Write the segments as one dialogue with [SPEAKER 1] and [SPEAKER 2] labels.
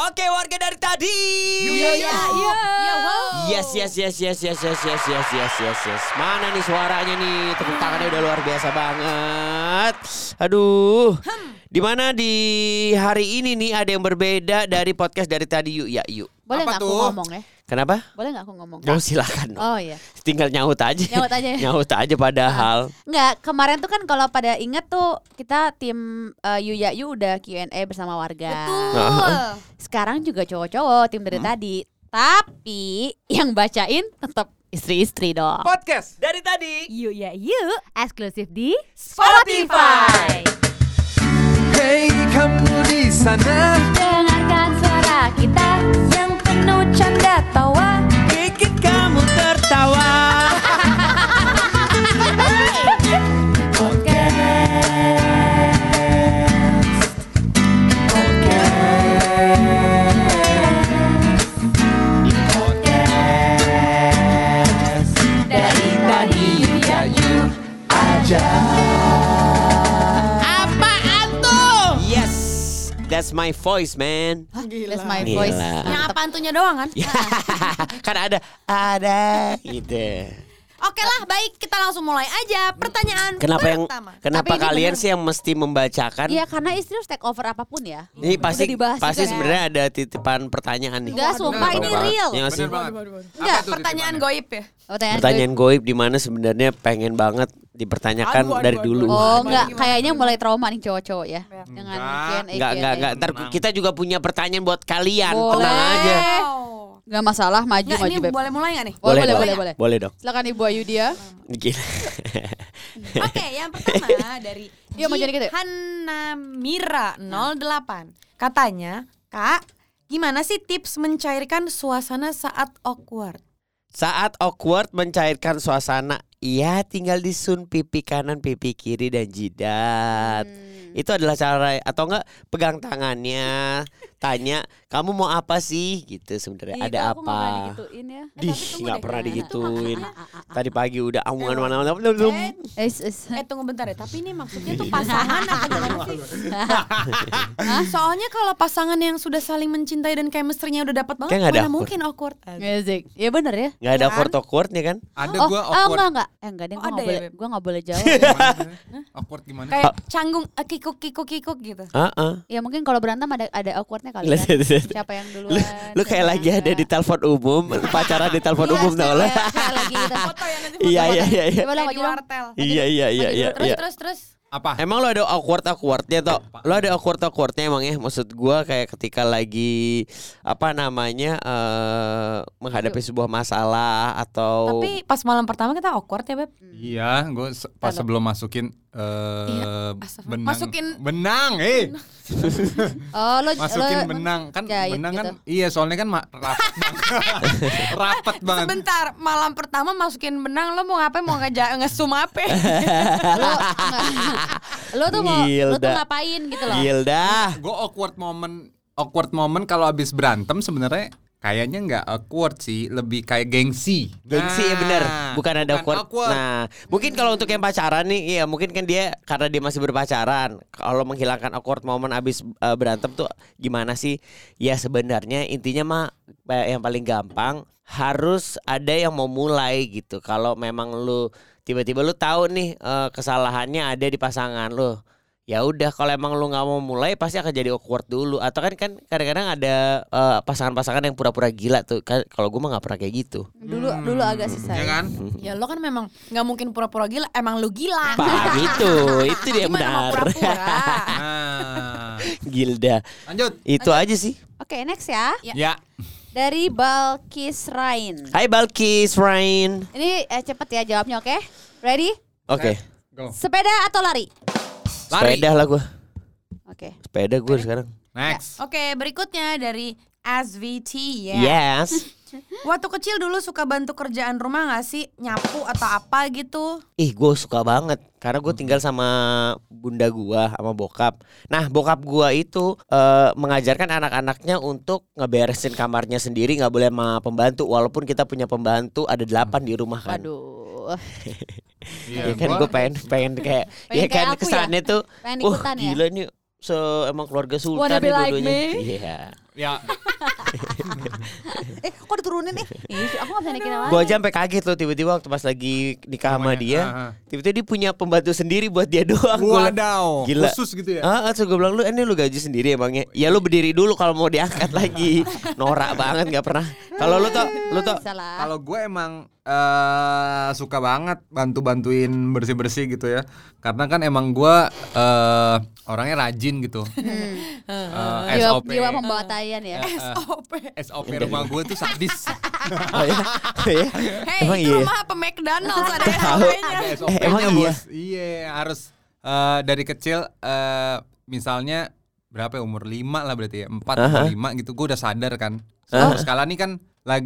[SPEAKER 1] Oke warga dari tadi.
[SPEAKER 2] Iya, iya, iya.
[SPEAKER 3] Ya wow.
[SPEAKER 1] Yes, yes, yes, yes, yes, yes, yes, yes, yes, yes, yes. Mana nih suaranya nih? Tepuk
[SPEAKER 3] Hmm.
[SPEAKER 1] tangannya udah luar biasa banget. Aduh.
[SPEAKER 3] Hmm.
[SPEAKER 1] Dimana di hari ini nih ada yang berbeda dari podcast dari tadi yuk ya yuk.
[SPEAKER 3] Boleh
[SPEAKER 2] Apa
[SPEAKER 3] nggak aku
[SPEAKER 2] tuh?
[SPEAKER 3] ngomong ya?
[SPEAKER 1] Kenapa?
[SPEAKER 3] Boleh nggak aku ngomong?
[SPEAKER 1] Oh silakan. dong.
[SPEAKER 3] Oh iya.
[SPEAKER 1] Tinggal nyaut aja.
[SPEAKER 3] Nyaut aja ya?
[SPEAKER 1] nyaut aja padahal.
[SPEAKER 3] Nggak, kemarin tuh kan kalau pada inget tuh kita tim eh, Yu Ya Yu udah Q&A bersama warga.
[SPEAKER 1] Nah.
[SPEAKER 2] Betul.
[SPEAKER 3] Sekarang juga cowok-cowok tim
[SPEAKER 2] Hmm.
[SPEAKER 3] dari tadi. Tapi yang bacain tetap istri-istri dong.
[SPEAKER 2] Podcast.
[SPEAKER 1] Dari tadi.
[SPEAKER 3] Yu Ya Yu eksklusif di
[SPEAKER 2] Spotify.
[SPEAKER 4] Hey kamu di sana
[SPEAKER 3] Dengarkan suara kita yang penuh canda tawa.
[SPEAKER 1] Bikin kamu tertawa. Yes. That's my voice, man.
[SPEAKER 3] That's
[SPEAKER 1] Gila.
[SPEAKER 3] my
[SPEAKER 1] Iya.
[SPEAKER 3] voice.
[SPEAKER 1] Yang
[SPEAKER 3] Mantep.
[SPEAKER 5] Pantunya doang kan?
[SPEAKER 1] kan ada ada gitu.
[SPEAKER 5] Oke lah, baik kita langsung mulai aja. Pertanyaan
[SPEAKER 1] Kenapa yang
[SPEAKER 5] pertama.
[SPEAKER 1] kenapa
[SPEAKER 3] Tapi ini
[SPEAKER 1] kalian
[SPEAKER 3] bener.
[SPEAKER 1] sih yang mesti membacakan?
[SPEAKER 3] Iya karena istri harus take over apapun ya.
[SPEAKER 1] Ini pasti
[SPEAKER 3] Udah dibahas
[SPEAKER 1] pasti
[SPEAKER 3] juga ya.
[SPEAKER 1] sebenarnya ada titipan pertanyaan nih.
[SPEAKER 3] Enggak, sumpah
[SPEAKER 1] Bener
[SPEAKER 3] ini
[SPEAKER 1] banget.
[SPEAKER 3] real.
[SPEAKER 1] Iya nggak sih?
[SPEAKER 2] Bener banget.
[SPEAKER 5] Enggak, pertanyaan goib ya.
[SPEAKER 3] Oh,
[SPEAKER 1] Pertanyaan goib di mana sebenarnya pengen banget dipertanyakan
[SPEAKER 2] Aduh, aduh,
[SPEAKER 1] dari
[SPEAKER 2] aduh,
[SPEAKER 1] dulu.
[SPEAKER 3] Oh
[SPEAKER 2] Gimana,
[SPEAKER 3] enggak,
[SPEAKER 2] gimana,
[SPEAKER 3] kayaknya mulai trauma nih cowok-cowok ya dengan ya.
[SPEAKER 2] Enggak,
[SPEAKER 3] Q&A.
[SPEAKER 1] Enggak enggak enggak. Ntar
[SPEAKER 2] Tenang.
[SPEAKER 1] kita juga punya pertanyaan buat kalian.
[SPEAKER 3] iya, Boleh.
[SPEAKER 1] Tenang aja.
[SPEAKER 5] Oh.
[SPEAKER 3] Enggak masalah maju
[SPEAKER 5] Enggak, ini
[SPEAKER 3] maju Beb.
[SPEAKER 5] boleh mulai gak nih?
[SPEAKER 3] Boleh,
[SPEAKER 1] dong.
[SPEAKER 3] boleh, boleh.
[SPEAKER 1] Boleh dong.
[SPEAKER 3] Silakan Ibu Ayu dia.
[SPEAKER 1] Gila.
[SPEAKER 5] Oke, yang pertama dari
[SPEAKER 3] Iya, mau jadi gitu ya?
[SPEAKER 5] Hanamira 08. Katanya, "Kak, gimana sih tips mencairkan suasana saat awkward?"
[SPEAKER 1] Saat awkward mencairkan suasana, ia tinggal disun pipi kanan, pipi kiri dan jidat.
[SPEAKER 3] Hmm.
[SPEAKER 1] Itu adalah cara atau enggak pegang tangannya, tanya, "Kamu mau apa sih?" gitu sebenarnya.
[SPEAKER 3] Ih,
[SPEAKER 1] Ada
[SPEAKER 3] kok aku nggak
[SPEAKER 1] apa?
[SPEAKER 3] pernah digituin ya? Eh,
[SPEAKER 1] Dih,
[SPEAKER 3] tapi tunggu
[SPEAKER 1] nggak
[SPEAKER 3] deh.
[SPEAKER 1] pernah digituin.
[SPEAKER 3] Ah, ah, ah, ah.
[SPEAKER 1] Tadi pagi udah amungan mana mana.
[SPEAKER 5] Eh,
[SPEAKER 3] Eh, s- s-
[SPEAKER 5] eh tunggu bentar ya, tapi ini maksudnya tuh pasangan apa gimana sih? Hah? Soalnya kalau pasangan yang sudah saling mencintai dan chemistry-nya udah dapat banget,
[SPEAKER 1] Kayak nggak ada
[SPEAKER 5] mana
[SPEAKER 1] awkward.
[SPEAKER 5] mungkin awkward?
[SPEAKER 3] Music. Ya bener ya.
[SPEAKER 1] Enggak ada
[SPEAKER 5] Kan?
[SPEAKER 1] awkward awkwardnya kan?
[SPEAKER 2] Ada
[SPEAKER 3] Oh,
[SPEAKER 2] gua
[SPEAKER 3] oh
[SPEAKER 2] awkward.
[SPEAKER 3] enggak enggak. Eh enggak deh,
[SPEAKER 5] Oh,
[SPEAKER 3] gua
[SPEAKER 5] ada
[SPEAKER 3] enggak
[SPEAKER 5] ya,
[SPEAKER 3] boleh.
[SPEAKER 5] Beb?
[SPEAKER 3] Gua enggak boleh jawab.
[SPEAKER 2] awkward gimana?
[SPEAKER 5] Kayak canggung eh, kikuk kikuk kikuk gitu.
[SPEAKER 1] Heeh.
[SPEAKER 3] Ya mungkin kalau berantem ada ada awkwardnya kali
[SPEAKER 1] Ah, Lihat,
[SPEAKER 3] kan.
[SPEAKER 1] lihat, lihat.
[SPEAKER 3] Siapa yang duluan?
[SPEAKER 1] Lu, lu kayak lagi ada di telepon umum, pacaran di
[SPEAKER 3] Iya,
[SPEAKER 1] telepon umum tau lah.
[SPEAKER 3] Kayak lagi di telepon.
[SPEAKER 5] Foto ya nanti foto.
[SPEAKER 1] Iya iya iya iya.
[SPEAKER 3] Coba lah
[SPEAKER 5] Kayak
[SPEAKER 3] maju
[SPEAKER 5] Eh, di
[SPEAKER 3] dong.
[SPEAKER 5] wartel.
[SPEAKER 1] Iya iya iya iya.
[SPEAKER 5] Maju dulu. gitu, Terus
[SPEAKER 1] iya.
[SPEAKER 5] terus terus.
[SPEAKER 2] Apa?
[SPEAKER 1] Emang lo ada awkward awkwardnya toh? Lo ada awkward awkwardnya emang ya? Maksud gua kayak ketika lagi apa namanya eh menghadapi sebuah masalah atau
[SPEAKER 5] Tapi pas malam pertama kita awkward ya, Beb.
[SPEAKER 2] Iya, gua se- pas sebelum masukin eh
[SPEAKER 5] astagfirullah.
[SPEAKER 2] benang.
[SPEAKER 5] Masukin-
[SPEAKER 2] benang, eh.
[SPEAKER 3] Oh, lo
[SPEAKER 2] Masukin
[SPEAKER 3] lo-
[SPEAKER 2] benang kan
[SPEAKER 3] Jahit
[SPEAKER 2] benang kan
[SPEAKER 3] gitu.
[SPEAKER 2] iya soalnya kan ma- rapat banget. rapat banget.
[SPEAKER 5] Bentar, malam pertama masukin benang lo mau ngapain? Mau ngeja ngesum apa?
[SPEAKER 3] lo lo tuh mau lo tuh
[SPEAKER 1] Gilda.
[SPEAKER 3] ngapain gitu loh
[SPEAKER 1] Gilda.
[SPEAKER 2] Gue awkward moment awkward moment kalau abis berantem sebenarnya kayaknya nggak awkward sih, lebih kayak gengsi.
[SPEAKER 1] Gengsi ya
[SPEAKER 2] Nah,
[SPEAKER 1] bener Bukan ada awkward. Nah mungkin kalau untuk yang pacaran nih Iya mungkin kan dia Karena dia masih berpacaran Kalau menghilangkan awkward moment Abis eh, berantem tuh Gimana sih Ya sebenarnya intinya mah eh, Yang paling gampang Harus ada yang mau mulai gitu Kalau memang lu Tiba-tiba lu tahu nih eh, Kesalahannya ada di pasangan lu ya udah kalau emang lu nggak mau mulai pasti akan jadi awkward dulu atau kan kan kadang-kadang ada eh, pasangan-pasangan yang pura-pura gila tuh Kan kalau gue mah nggak pernah kayak gitu
[SPEAKER 3] dulu dulu agak susah
[SPEAKER 2] Ya kan?
[SPEAKER 5] ya lo kan memang nggak mungkin pura-pura gila, emang lo gila.
[SPEAKER 1] Pak itu itu dia yang
[SPEAKER 5] Gimana mau
[SPEAKER 1] benar.
[SPEAKER 5] pura-pura?
[SPEAKER 2] Nah,
[SPEAKER 1] Gilda.
[SPEAKER 2] lanjut.
[SPEAKER 1] Itu aja sih.
[SPEAKER 3] oke next ya
[SPEAKER 5] Ya.
[SPEAKER 2] Ya.
[SPEAKER 3] dari Balkis Rain
[SPEAKER 1] Hai Balkis, Ryan.
[SPEAKER 3] ini eh, cepet ya jawabnya oke ready
[SPEAKER 1] Oke.
[SPEAKER 2] Go.
[SPEAKER 3] sepeda atau lari
[SPEAKER 2] Lari.
[SPEAKER 1] Sepeda lah gue.
[SPEAKER 3] oke
[SPEAKER 1] Sepeda gue sekarang.
[SPEAKER 2] Next.
[SPEAKER 5] Oke, berikutnya dari SVT ya.
[SPEAKER 1] Iya. Yes.
[SPEAKER 5] Waktu kecil dulu suka bantu kerjaan rumah gak sih? Nyapu atau apa gitu?
[SPEAKER 1] Ih gue suka banget karena gue tinggal sama bunda gua sama bokap. Nah bokap gua itu eh, mengajarkan anak-anaknya untuk ngeberesin kamarnya sendiri nggak boleh sama pembantu walaupun kita punya pembantu ada delapan di rumah kan.
[SPEAKER 3] waduh
[SPEAKER 2] Iya,
[SPEAKER 1] Ya kan
[SPEAKER 2] gua-
[SPEAKER 1] gue pengen pengen kayak
[SPEAKER 3] Pengen
[SPEAKER 1] ya
[SPEAKER 3] kayak
[SPEAKER 1] kan
[SPEAKER 3] aku ya?
[SPEAKER 1] kesannya tuh
[SPEAKER 3] Pengen
[SPEAKER 1] wah
[SPEAKER 3] ikutan ya?
[SPEAKER 1] gila nih se emang keluarga sultan
[SPEAKER 3] Wanna be
[SPEAKER 1] nih
[SPEAKER 3] like
[SPEAKER 1] dua-duanya.
[SPEAKER 3] me?
[SPEAKER 1] Iya.
[SPEAKER 2] Ya,
[SPEAKER 6] Eh kok diturunin eh?
[SPEAKER 3] Ih, aku gak bisa naikin lagi.
[SPEAKER 1] Gua aja sampai kaget loh tiba-tiba waktu pas lagi nikah sama
[SPEAKER 2] Rumahnya,
[SPEAKER 1] dia,
[SPEAKER 2] ah, ah.
[SPEAKER 1] tiba-tiba dia punya pembantu sendiri buat dia doang. Gua-
[SPEAKER 2] wadaw,
[SPEAKER 1] Gila.
[SPEAKER 2] khusus gitu ya.
[SPEAKER 1] Ah, ah, terus gue bilang lu eh, ini lu gaji sendiri emangnya. Ya lu berdiri dulu kalau mau diangkat lagi. Norak banget nggak pernah. Kalau lu tuh lu tuh
[SPEAKER 3] Bisa lah.
[SPEAKER 2] Kalau gue emang eh suka banget bantu-bantuin bersih-bersih gitu ya. Karena kan emang gue eh orangnya rajin gitu. Eh,
[SPEAKER 3] Hmm. Jiwa,
[SPEAKER 2] SOP.
[SPEAKER 3] jiwa pembantaian ya.
[SPEAKER 5] Eh. SOP.
[SPEAKER 2] SOP rumah gue tuh sadis.
[SPEAKER 1] oh, ya? Oh, ya?
[SPEAKER 5] Hei,
[SPEAKER 1] Emang
[SPEAKER 5] itu
[SPEAKER 1] iya.
[SPEAKER 5] rumah apa McDonald's ada
[SPEAKER 1] Tahu.
[SPEAKER 5] SOP-nya.
[SPEAKER 2] Ada
[SPEAKER 1] Eh, emang
[SPEAKER 2] SOP-nya,
[SPEAKER 1] iya?
[SPEAKER 2] Bos. Iya, harus eh dari kecil eh misalnya berapa ya umur 5 lah berarti ya. 4 atau 5 gitu gue udah sadar kan. Sekarang skala nih kan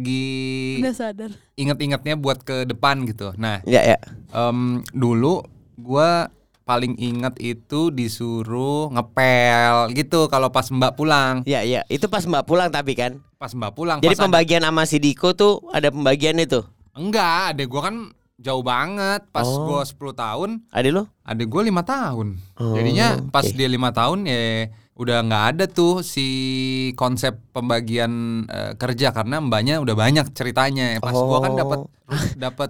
[SPEAKER 2] lagi
[SPEAKER 3] sadar.
[SPEAKER 2] inget-ingetnya buat ke depan gitu. Nah,
[SPEAKER 1] Ya ya.
[SPEAKER 2] Em, dulu gua paling ingat itu disuruh ngepel gitu kalau pas Mbak pulang.
[SPEAKER 1] Ya ya, itu pas Mbak pulang tapi kan.
[SPEAKER 2] Pas Mbak pulang
[SPEAKER 1] Jadi
[SPEAKER 2] pas ada-
[SPEAKER 1] pembagian sama si Diko tuh ada pembagian itu.
[SPEAKER 2] enggak, adek gua kan jauh banget. Pas
[SPEAKER 1] Oh.
[SPEAKER 2] gua 10 tahun,
[SPEAKER 1] Ada lu?
[SPEAKER 2] adek gua 5 tahun.
[SPEAKER 1] Oh,
[SPEAKER 2] Jadinya pas
[SPEAKER 1] oke.
[SPEAKER 2] dia 5 tahun ya udah nggak ada tuh si konsep pembagian eh, kerja karena mbaknya udah banyak ceritanya. Pas gua kan dapat dapat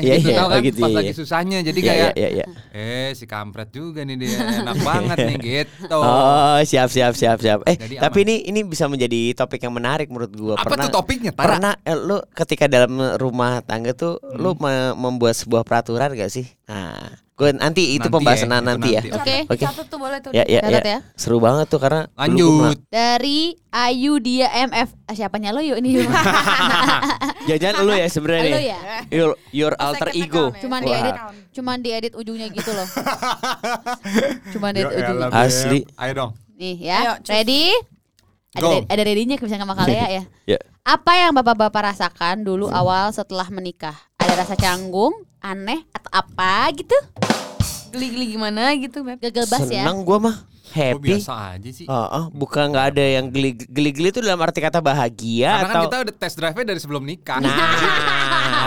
[SPEAKER 1] Oh. Iya,
[SPEAKER 2] gitu,
[SPEAKER 1] iya,
[SPEAKER 2] tau kan?
[SPEAKER 1] oh gitu,
[SPEAKER 2] pas
[SPEAKER 1] iya,
[SPEAKER 2] lagi
[SPEAKER 1] iya.
[SPEAKER 2] susahnya. Jadi
[SPEAKER 1] Ya,
[SPEAKER 2] kayak
[SPEAKER 1] ya, ya, ya.
[SPEAKER 2] Eh si kampret juga nih dia enak banget nih gitu.
[SPEAKER 1] Oh, siap siap siap siap. Eh,
[SPEAKER 2] Jadi
[SPEAKER 1] tapi ini ini bisa menjadi topik yang menarik menurut gua.
[SPEAKER 2] Apa
[SPEAKER 1] Pernah-
[SPEAKER 2] tuh topiknya? Tara?
[SPEAKER 1] Pernah eh, lu ketika dalam rumah tangga tuh
[SPEAKER 2] Hmm.
[SPEAKER 1] lu me- membuat sebuah peraturan gak sih? Nah, gue nanti itu
[SPEAKER 2] Nanti ya,
[SPEAKER 1] pembahasan
[SPEAKER 2] itu
[SPEAKER 1] nanti, ya.
[SPEAKER 2] nanti.
[SPEAKER 3] Oke.
[SPEAKER 1] Oke.
[SPEAKER 5] Satu tuh boleh tuh.
[SPEAKER 1] Ya, ya, ya.
[SPEAKER 3] Catat ya.
[SPEAKER 1] Seru banget tuh karena dulu gua
[SPEAKER 2] Lanjut.
[SPEAKER 1] melang-
[SPEAKER 3] Dari Ayu Dia MF. Ah, siapanya lo yuk ini? yuk?
[SPEAKER 1] Jangan lu ya sebenarnya.
[SPEAKER 3] Lo
[SPEAKER 1] nih.
[SPEAKER 3] ya.
[SPEAKER 1] Your, your alter
[SPEAKER 5] Second
[SPEAKER 1] ego.
[SPEAKER 5] account ya?
[SPEAKER 3] Cuman
[SPEAKER 1] Wah.
[SPEAKER 3] diedit, cuman diedit ujungnya gitu loh. Cuman diedit
[SPEAKER 2] ya
[SPEAKER 3] ujungnya.
[SPEAKER 1] Asli.
[SPEAKER 2] Ayo dong.
[SPEAKER 3] Nih
[SPEAKER 5] Ayo,
[SPEAKER 3] ya,
[SPEAKER 5] cus.
[SPEAKER 3] ready? Ada,
[SPEAKER 2] Go.
[SPEAKER 3] ada ready-nya bisa sama Kalea ya.
[SPEAKER 1] Ya.
[SPEAKER 3] Apa yang bapak-bapak rasakan dulu
[SPEAKER 2] Hmm.
[SPEAKER 3] awal setelah menikah? Ada rasa canggung, aneh atau apa gitu?
[SPEAKER 5] Geli-geli gimana gitu, Beb.
[SPEAKER 3] Gagal bas ya.
[SPEAKER 1] Seneng gua mah.
[SPEAKER 2] Gue
[SPEAKER 1] Happy.
[SPEAKER 2] biasa aja sih.
[SPEAKER 1] Oh, bukan nggak ada yang geli- geli-geli itu dalam arti kata bahagia
[SPEAKER 2] Karena kan
[SPEAKER 1] atau
[SPEAKER 2] kita udah test drive-nya dari sebelum nikah.
[SPEAKER 3] Ah,
[SPEAKER 2] Ah.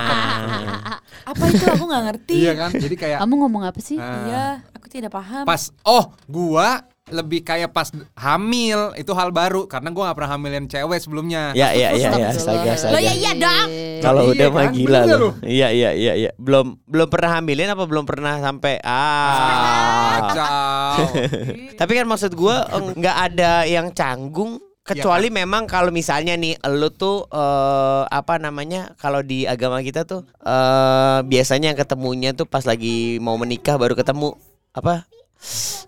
[SPEAKER 1] Nah.
[SPEAKER 5] Apa itu aku nggak ngerti.
[SPEAKER 2] iya kan? Jadi kayak
[SPEAKER 3] Kamu ngomong apa sih?
[SPEAKER 2] eh,
[SPEAKER 1] Ah.
[SPEAKER 5] Iya, aku tidak paham.
[SPEAKER 2] pas oh gua lebih kayak pas hamil itu hal baru karena gua nggak pernah hamilin cewek sebelumnya.
[SPEAKER 1] ya ya ya ya astaga
[SPEAKER 3] Astagfirullah.
[SPEAKER 1] astaga.
[SPEAKER 5] Lah, ya, iya dong.
[SPEAKER 1] Kalau
[SPEAKER 2] Iya
[SPEAKER 1] udah mah
[SPEAKER 2] kan?
[SPEAKER 1] gila
[SPEAKER 2] Bener
[SPEAKER 1] loh. Iya iya iya iya. Belum belum pernah hamilin apa belum pernah sampai ah.
[SPEAKER 2] Kacau.
[SPEAKER 1] Tapi kan maksud gua eng- nggak ada yang canggung kecuali memang kalau misalnya nih lu tuh eh, apa namanya kalau di agama kita tuh eh biasanya yang ketemunya tuh pas lagi mau menikah baru ketemu apa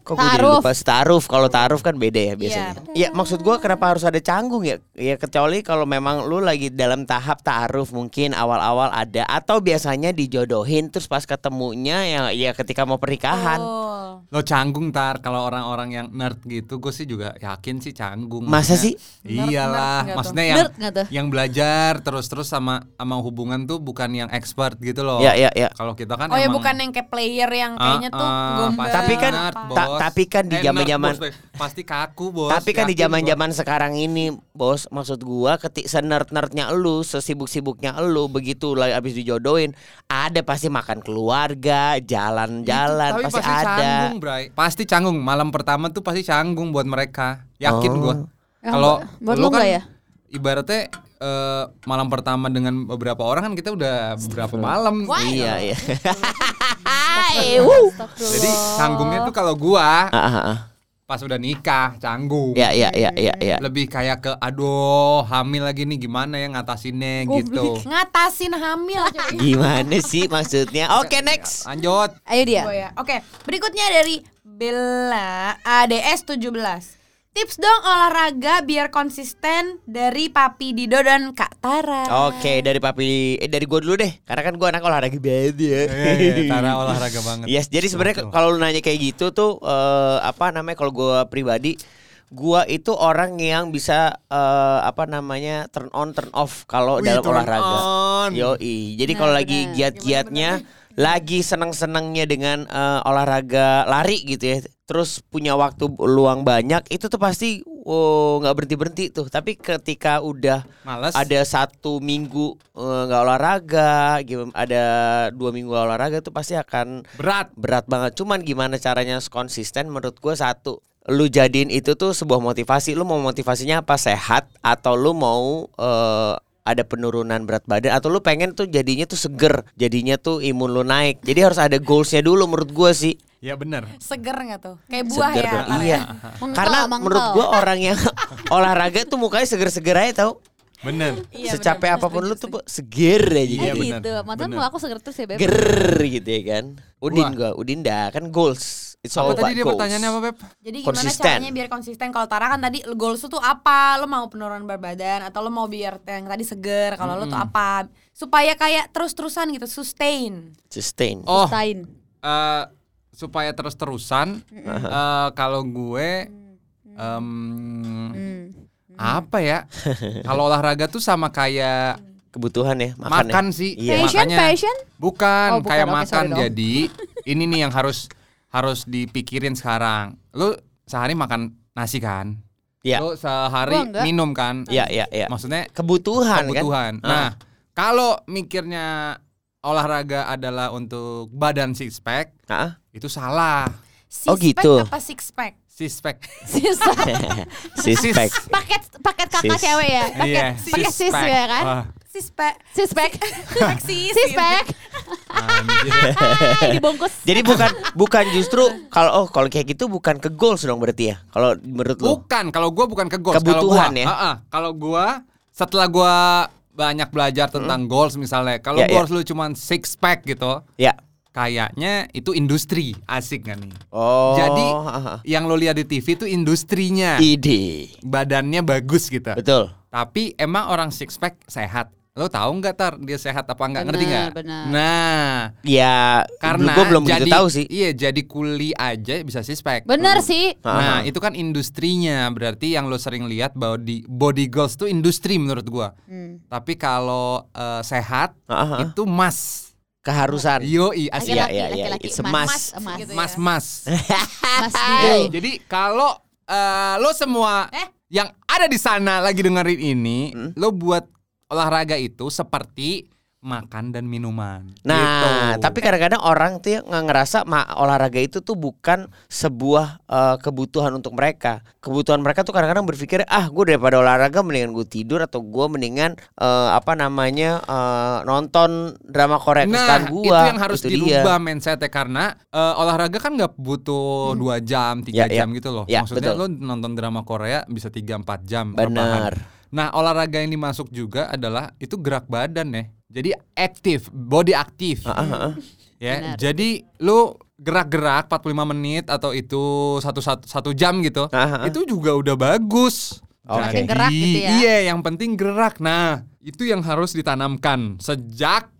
[SPEAKER 1] Kok gue jadi
[SPEAKER 3] Ta'aruf.
[SPEAKER 1] lupa Ta'aruf Kalau ta'aruf kan beda ya biasanya Ya maksud gua kenapa harus ada canggung ya Ya kecuali kalau memang lu lagi dalam tahap ta'aruf Mungkin awal-awal ada Atau biasanya dijodohin Terus pas ketemunya ya, ya ketika mau pernikahan
[SPEAKER 5] Oh.
[SPEAKER 2] Lo canggung tar kalau orang-orang yang nerd gitu, gue sih juga yakin sih canggung.
[SPEAKER 1] Masa sih?
[SPEAKER 5] Nerd, nerd
[SPEAKER 2] Iyalah,
[SPEAKER 5] nggak tuh?
[SPEAKER 2] maksudnya yang
[SPEAKER 3] Nerd nggak tuh?
[SPEAKER 2] yang belajar terus-terus sama sama hubungan tuh bukan yang expert gitu loh.
[SPEAKER 1] Ya ya ya
[SPEAKER 2] Kalau kita kan
[SPEAKER 5] Oh ya
[SPEAKER 2] emang-
[SPEAKER 5] bukan yang kayak player yang kayaknya
[SPEAKER 2] Ah,
[SPEAKER 5] tuh
[SPEAKER 2] ah,
[SPEAKER 5] gombal.
[SPEAKER 2] pasti
[SPEAKER 1] Tapi kan-
[SPEAKER 2] nerd,
[SPEAKER 1] ta-
[SPEAKER 2] bos.
[SPEAKER 1] tapi kan di
[SPEAKER 2] Eh, nerd,
[SPEAKER 1] zaman-zaman-
[SPEAKER 2] bos, deh. pasti kaku bos.
[SPEAKER 1] Tapi kan di
[SPEAKER 2] Yakin,
[SPEAKER 1] zaman-zaman sekarang ini, Bos, maksud gua ketik senerd-nerdnya elu, sesibuk-sibuknya elu, begitu lah abis dijodohin, ada pasti makan keluarga,
[SPEAKER 2] bos.
[SPEAKER 1] jalan-jalan
[SPEAKER 2] Tapi
[SPEAKER 1] pasti, ada.
[SPEAKER 2] canggung, Bray. Pasti canggung. Malam pertama tuh pasti canggung buat mereka. Yakin
[SPEAKER 1] Oh.
[SPEAKER 2] gua.
[SPEAKER 3] Ya,
[SPEAKER 2] Kalau
[SPEAKER 3] buat
[SPEAKER 2] lu
[SPEAKER 3] lu nggak
[SPEAKER 2] kan
[SPEAKER 3] ya?
[SPEAKER 2] ibaratnya eh, malam pertama dengan beberapa orang kan kita udah beberapa malam.
[SPEAKER 1] Iya, iya.
[SPEAKER 3] Hai, wuh.
[SPEAKER 2] Jadi canggungnya tuh kalau gua
[SPEAKER 1] Ah, ah, ah.
[SPEAKER 2] pas udah nikah canggung.
[SPEAKER 1] Ya, ya, ya, ya, ya.
[SPEAKER 2] Lebih kayak ke aduh hamil lagi nih gimana ya ngatasinnya gitu.
[SPEAKER 5] Ngatasin hamil. coy.
[SPEAKER 1] Gimana sih maksudnya? Oke, next.
[SPEAKER 2] Lanjut.
[SPEAKER 3] Ayo dia.
[SPEAKER 5] Gua ya. Oke, berikutnya dari Bella ADS 17. Tips dong olahraga biar konsisten dari Papi Dido dan Kak Tara.
[SPEAKER 1] Oke, dari papi eh, dari gua dulu deh, karena kan gua anak olahraga banget ya.
[SPEAKER 2] Iya, iya, iya, Tara olahraga banget.
[SPEAKER 1] Yes, jadi sebenarnya
[SPEAKER 2] Betul.
[SPEAKER 1] kalau lu nanya kayak gitu tuh eh, apa namanya kalau gua pribadi gua itu orang yang bisa eh, apa namanya turn on turn off kalau
[SPEAKER 2] Wih,
[SPEAKER 1] dalam
[SPEAKER 2] turn
[SPEAKER 1] olahraga.
[SPEAKER 2] on.
[SPEAKER 1] Yoi. Jadi kalau lagi giat-giatnya, lagi seneng-senengnya dengan eh, olahraga lari gitu ya. Terus punya waktu luang banyak, itu tuh pasti oh, nggak berhenti berhenti tuh. Tapi ketika udah
[SPEAKER 2] Males.
[SPEAKER 1] ada satu minggu eh, nggak olahraga, gitu, ada dua minggu nggak olahraga tuh pasti akan
[SPEAKER 2] Berat.
[SPEAKER 1] berat banget. Cuman gimana caranya konsisten? Menurut gue satu lu jadiin itu tuh sebuah motivasi. Lu mau motivasinya apa? Sehat atau lu mau eh, ada penurunan berat badan atau lu pengen tuh jadinya tuh seger, jadinya tuh imun lu naik. Jadi harus ada goalsnya dulu menurut gua sih.
[SPEAKER 2] Ya bener.
[SPEAKER 5] Seger nggak tuh? Kayak buah
[SPEAKER 1] Seger
[SPEAKER 5] ya.
[SPEAKER 1] dong.
[SPEAKER 5] Pak,
[SPEAKER 1] Iya.
[SPEAKER 5] ya?
[SPEAKER 3] Mengkel,
[SPEAKER 1] Karena
[SPEAKER 3] mengkel.
[SPEAKER 1] menurut gua orang yang olahraga tuh mukanya seger-seger aja tau.
[SPEAKER 2] Bener.
[SPEAKER 5] Iya,
[SPEAKER 1] Secapek
[SPEAKER 5] benar-benar
[SPEAKER 1] apapun
[SPEAKER 5] setuju,
[SPEAKER 1] lu tuh Bu, seger aja
[SPEAKER 3] Iya
[SPEAKER 2] Iya,
[SPEAKER 1] gitu.
[SPEAKER 2] benar,
[SPEAKER 3] gitu. Mantan
[SPEAKER 2] benar.
[SPEAKER 3] mau aku seger terus ya beb.
[SPEAKER 1] Ger gitu ya kan. Udin
[SPEAKER 2] Wah.
[SPEAKER 1] gua, Udin dah kan goals. It's all
[SPEAKER 2] Apa
[SPEAKER 1] about
[SPEAKER 2] tadi dia
[SPEAKER 1] goals.
[SPEAKER 2] pertanyaannya apa Beb?
[SPEAKER 5] Jadi gimana
[SPEAKER 1] Konsisten.
[SPEAKER 5] caranya biar konsisten? Kalau Tara kan tadi goals lu tuh apa? Lo mau penurunan berat badan atau lo mau biar yang tadi seger? Kalau lo tuh apa? Supaya kayak terus-terusan gitu, sustain.
[SPEAKER 1] Sustain.
[SPEAKER 2] Oh,
[SPEAKER 3] Sustain.
[SPEAKER 2] eh, supaya terus-terusan eh, kalau gue em, apa ya? Kalau olahraga tuh sama kayak
[SPEAKER 1] Kebutuhan ya makan.
[SPEAKER 2] makan,
[SPEAKER 1] ya.
[SPEAKER 2] sih. Eh.
[SPEAKER 1] Iya.
[SPEAKER 3] Fashion,
[SPEAKER 2] Makanya-
[SPEAKER 3] fashion.
[SPEAKER 2] Bukan,
[SPEAKER 3] Oh, bukan.
[SPEAKER 2] kayak
[SPEAKER 3] Oke,
[SPEAKER 2] makan.
[SPEAKER 3] sorry dong.
[SPEAKER 2] Jadi ini nih yang harus harus dipikirin sekarang. Lu sehari makan nasi kan?
[SPEAKER 1] Iya.
[SPEAKER 2] Lu
[SPEAKER 3] Gua
[SPEAKER 2] sehari
[SPEAKER 3] enggak.
[SPEAKER 2] minum kan?
[SPEAKER 1] Iya, iya, iya.
[SPEAKER 2] Maksudnya
[SPEAKER 1] Kebutuhan, kan.
[SPEAKER 2] kebutuhan.
[SPEAKER 1] Ah.
[SPEAKER 2] Nah, kalau mikirnya olahraga adalah untuk badan six pack,
[SPEAKER 1] Heeh.
[SPEAKER 2] itu salah.
[SPEAKER 5] Six
[SPEAKER 1] Oh, gitu.
[SPEAKER 5] pack apa six pack?
[SPEAKER 2] Six pack.
[SPEAKER 3] Sisa.
[SPEAKER 1] Sispek.
[SPEAKER 3] paket paket kakak
[SPEAKER 1] Sis.
[SPEAKER 3] cewek ya. Paket
[SPEAKER 2] Iya,
[SPEAKER 3] paket
[SPEAKER 2] six
[SPEAKER 3] sis
[SPEAKER 2] pack. Oh.
[SPEAKER 3] ya kan.
[SPEAKER 2] Wah,
[SPEAKER 5] Six pack.
[SPEAKER 3] Sis pack.
[SPEAKER 5] Sis, iya,
[SPEAKER 3] Sis pack.
[SPEAKER 2] anjir.
[SPEAKER 3] Hai, dibungkus.
[SPEAKER 1] Jadi bukan bukan justru kalau oh kalau kayak gitu bukan ke goals dong berarti ya. Kalau menurut lu.
[SPEAKER 2] Bukan, kalau gua bukan ke goals. Kalau
[SPEAKER 1] Kebutuhan
[SPEAKER 2] gua-
[SPEAKER 1] ya?
[SPEAKER 2] Ah-ah, kalau gua setelah gua banyak belajar tentang goals misalnya, kalau
[SPEAKER 1] Ya, ya.
[SPEAKER 2] goals lu cuman six pack gitu,
[SPEAKER 1] Ya.
[SPEAKER 2] kayaknya itu industri asik nggak nih?
[SPEAKER 1] Oh.
[SPEAKER 2] Jadi
[SPEAKER 1] heeh.
[SPEAKER 2] yang lo lihat di TV itu industrinya,
[SPEAKER 1] ide.
[SPEAKER 2] badannya bagus gitu.
[SPEAKER 1] Betul.
[SPEAKER 2] Tapi emang orang six pack sehat. Lo tahu nggak tar dia sehat apa nggak ngerti
[SPEAKER 3] Benar,
[SPEAKER 2] nggak?
[SPEAKER 3] benar.
[SPEAKER 2] Nah,
[SPEAKER 1] Ya,
[SPEAKER 2] karena
[SPEAKER 1] gua belum
[SPEAKER 2] jadi,
[SPEAKER 1] begitu tahu sih.
[SPEAKER 2] Iya, jadi kuli aja bisa six pack.
[SPEAKER 3] Bener sih.
[SPEAKER 1] Aha.
[SPEAKER 2] Nah, itu kan industrinya. Berarti yang lo sering lihat body body goals tuh industri menurut gua.
[SPEAKER 5] Hmm.
[SPEAKER 2] Tapi kalau eh, sehat
[SPEAKER 1] Aha.
[SPEAKER 2] itu mas.
[SPEAKER 1] Keharusan.
[SPEAKER 2] Yoi asli.
[SPEAKER 1] Iya,
[SPEAKER 3] Laki-laki,
[SPEAKER 1] iya, iya.
[SPEAKER 3] laki-laki.
[SPEAKER 1] It's a
[SPEAKER 3] Mas,
[SPEAKER 1] must.
[SPEAKER 3] mas,
[SPEAKER 5] Gitu ya.
[SPEAKER 2] Mas-mas.
[SPEAKER 3] mas
[SPEAKER 2] Yo,
[SPEAKER 3] Dido.
[SPEAKER 2] jadi kalau eh, lo semua
[SPEAKER 5] Eh?
[SPEAKER 2] yang ada di sana lagi dengerin ini, lo buat olahraga itu seperti makan dan minuman.
[SPEAKER 1] Nah,
[SPEAKER 2] Gitu.
[SPEAKER 1] tapi kadang-kadang orang tuh ya nggak ngerasa ma- olahraga itu tuh bukan sebuah eh, kebutuhan untuk mereka. Kebutuhan mereka tuh kadang-kadang berpikir, ah gue daripada olahraga mendingan gue tidur atau gue mendingan eh, apa namanya eh, nonton drama Korea kesukaan
[SPEAKER 2] Nah,
[SPEAKER 1] gue.
[SPEAKER 2] itu yang harus
[SPEAKER 1] Gitu
[SPEAKER 2] dirubah mindsetnya karena eh, olahraga kan nggak butuh dua jam,
[SPEAKER 1] Ya,
[SPEAKER 2] tiga
[SPEAKER 1] ya.
[SPEAKER 2] jam gitu loh.
[SPEAKER 1] Ya,
[SPEAKER 2] Maksudnya
[SPEAKER 1] betul.
[SPEAKER 2] lo nonton drama Korea bisa tiga empat jam.
[SPEAKER 1] Benar.
[SPEAKER 2] rebahan. Nah, olahraga yang dimasuk juga adalah itu gerak badan ya. Jadi aktif, body aktif.
[SPEAKER 1] Ah,
[SPEAKER 2] Ya,
[SPEAKER 3] Benar.
[SPEAKER 2] jadi lu gerak-gerak 45 menit atau itu satu satu, satu jam gitu.
[SPEAKER 1] Aha.
[SPEAKER 2] Itu juga udah bagus.
[SPEAKER 1] Ah, Oke.
[SPEAKER 2] Jadi,
[SPEAKER 3] Penting gerak gitu ya.
[SPEAKER 2] Iya, yang penting gerak. Nah, itu yang harus ditanamkan sejak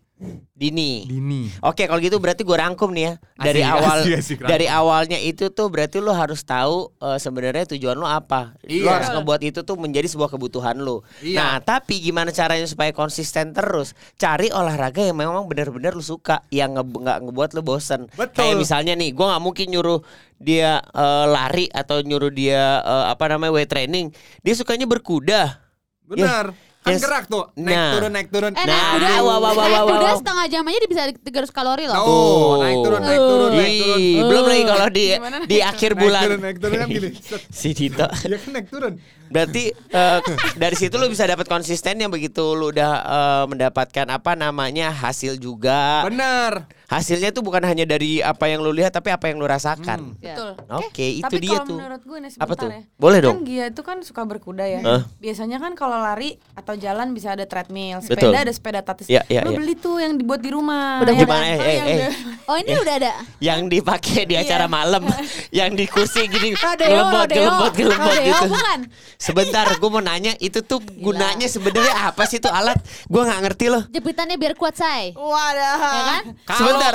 [SPEAKER 1] Dini.
[SPEAKER 2] dini.
[SPEAKER 1] Oke, kalau gitu berarti gue rangkum nih ya. Dari
[SPEAKER 2] Asik,
[SPEAKER 1] awal
[SPEAKER 2] asik, asik, rangkum.
[SPEAKER 1] dari awalnya itu tuh berarti lu harus tahu eh, sebenarnya tujuan lu apa. Lu
[SPEAKER 2] Iya.
[SPEAKER 1] harus ngebuat itu tuh menjadi sebuah kebutuhan lu.
[SPEAKER 2] Iya.
[SPEAKER 1] Nah, tapi gimana caranya supaya konsisten terus? Cari olahraga yang memang benar-benar lu suka, yang nge- nggak ngebuat lu bosen.
[SPEAKER 2] Betul.
[SPEAKER 1] Kayak misalnya nih, gua nggak mungkin nyuruh dia eh, lari atau nyuruh dia eh, apa namanya weight training. Dia sukanya berkuda.
[SPEAKER 2] Benar.
[SPEAKER 1] Yes.
[SPEAKER 2] Kan gerak tuh, naik
[SPEAKER 1] Nah.
[SPEAKER 2] turun naik turun.
[SPEAKER 3] Eh,
[SPEAKER 1] Nah,
[SPEAKER 3] nah, udah,
[SPEAKER 1] wah, wah, wah,
[SPEAKER 3] naik
[SPEAKER 1] wah,
[SPEAKER 3] udah
[SPEAKER 1] wah.
[SPEAKER 3] setengah jam aja dia bisa 300 kalori
[SPEAKER 1] Nah.
[SPEAKER 3] loh.
[SPEAKER 2] Oh, naik turun naik turun naik turun.
[SPEAKER 1] Ih, belum lagi kalau di
[SPEAKER 5] Gimana?
[SPEAKER 1] di akhir
[SPEAKER 2] Naik
[SPEAKER 1] bulan.
[SPEAKER 2] turun naik turun kan gini. Set.
[SPEAKER 1] si Dito.
[SPEAKER 2] Iya kan naik turun.
[SPEAKER 1] Berarti eh, dari situ lu bisa dapat konsisten yang begitu lu udah eh, mendapatkan apa namanya hasil juga.
[SPEAKER 2] Benar.
[SPEAKER 1] Hasilnya tuh bukan hanya dari apa yang lu lihat tapi apa yang lu rasakan.
[SPEAKER 3] Ya.
[SPEAKER 5] Betul.
[SPEAKER 2] Hmm.
[SPEAKER 1] Oke, itu
[SPEAKER 5] Eh, Tapi
[SPEAKER 1] dia
[SPEAKER 5] kalau
[SPEAKER 1] tuh.
[SPEAKER 5] menurut gue nih
[SPEAKER 1] Apa
[SPEAKER 5] sebentar
[SPEAKER 1] tuh?
[SPEAKER 5] ya.
[SPEAKER 1] Boleh
[SPEAKER 5] Kan
[SPEAKER 1] dong.
[SPEAKER 5] dia itu kan suka berkuda ya.
[SPEAKER 1] Hah?
[SPEAKER 5] Biasanya kan kalau lari atau jalan bisa ada treadmill,
[SPEAKER 1] Betul.
[SPEAKER 5] sepeda ada sepeda tatis.
[SPEAKER 1] Iya, iya,
[SPEAKER 5] Lu
[SPEAKER 1] iya.
[SPEAKER 5] beli tuh yang dibuat di rumah.
[SPEAKER 1] Udah
[SPEAKER 5] Ya
[SPEAKER 1] gimana?
[SPEAKER 5] kan?
[SPEAKER 1] Eh,
[SPEAKER 5] Tahu
[SPEAKER 1] eh,
[SPEAKER 5] yang
[SPEAKER 1] eh.
[SPEAKER 5] udah-
[SPEAKER 3] Oh, ini udah ada.
[SPEAKER 1] Yang dipakai di acara malam, yang di kursi gini,
[SPEAKER 3] Iya. Rodeo,
[SPEAKER 1] gelembot,
[SPEAKER 3] rodeo.
[SPEAKER 1] gelembot, gelembot
[SPEAKER 3] Rodeo,
[SPEAKER 1] gitu.
[SPEAKER 3] bukan? Iya.
[SPEAKER 1] Sebentar, gue mau nanya itu tuh gunanya sebenarnya apa sih tuh alat? Gue nggak ngerti loh.
[SPEAKER 3] Jepitannya biar kuat, say.
[SPEAKER 5] Wadah.
[SPEAKER 3] Ya kan? Ah,
[SPEAKER 1] Sebentar.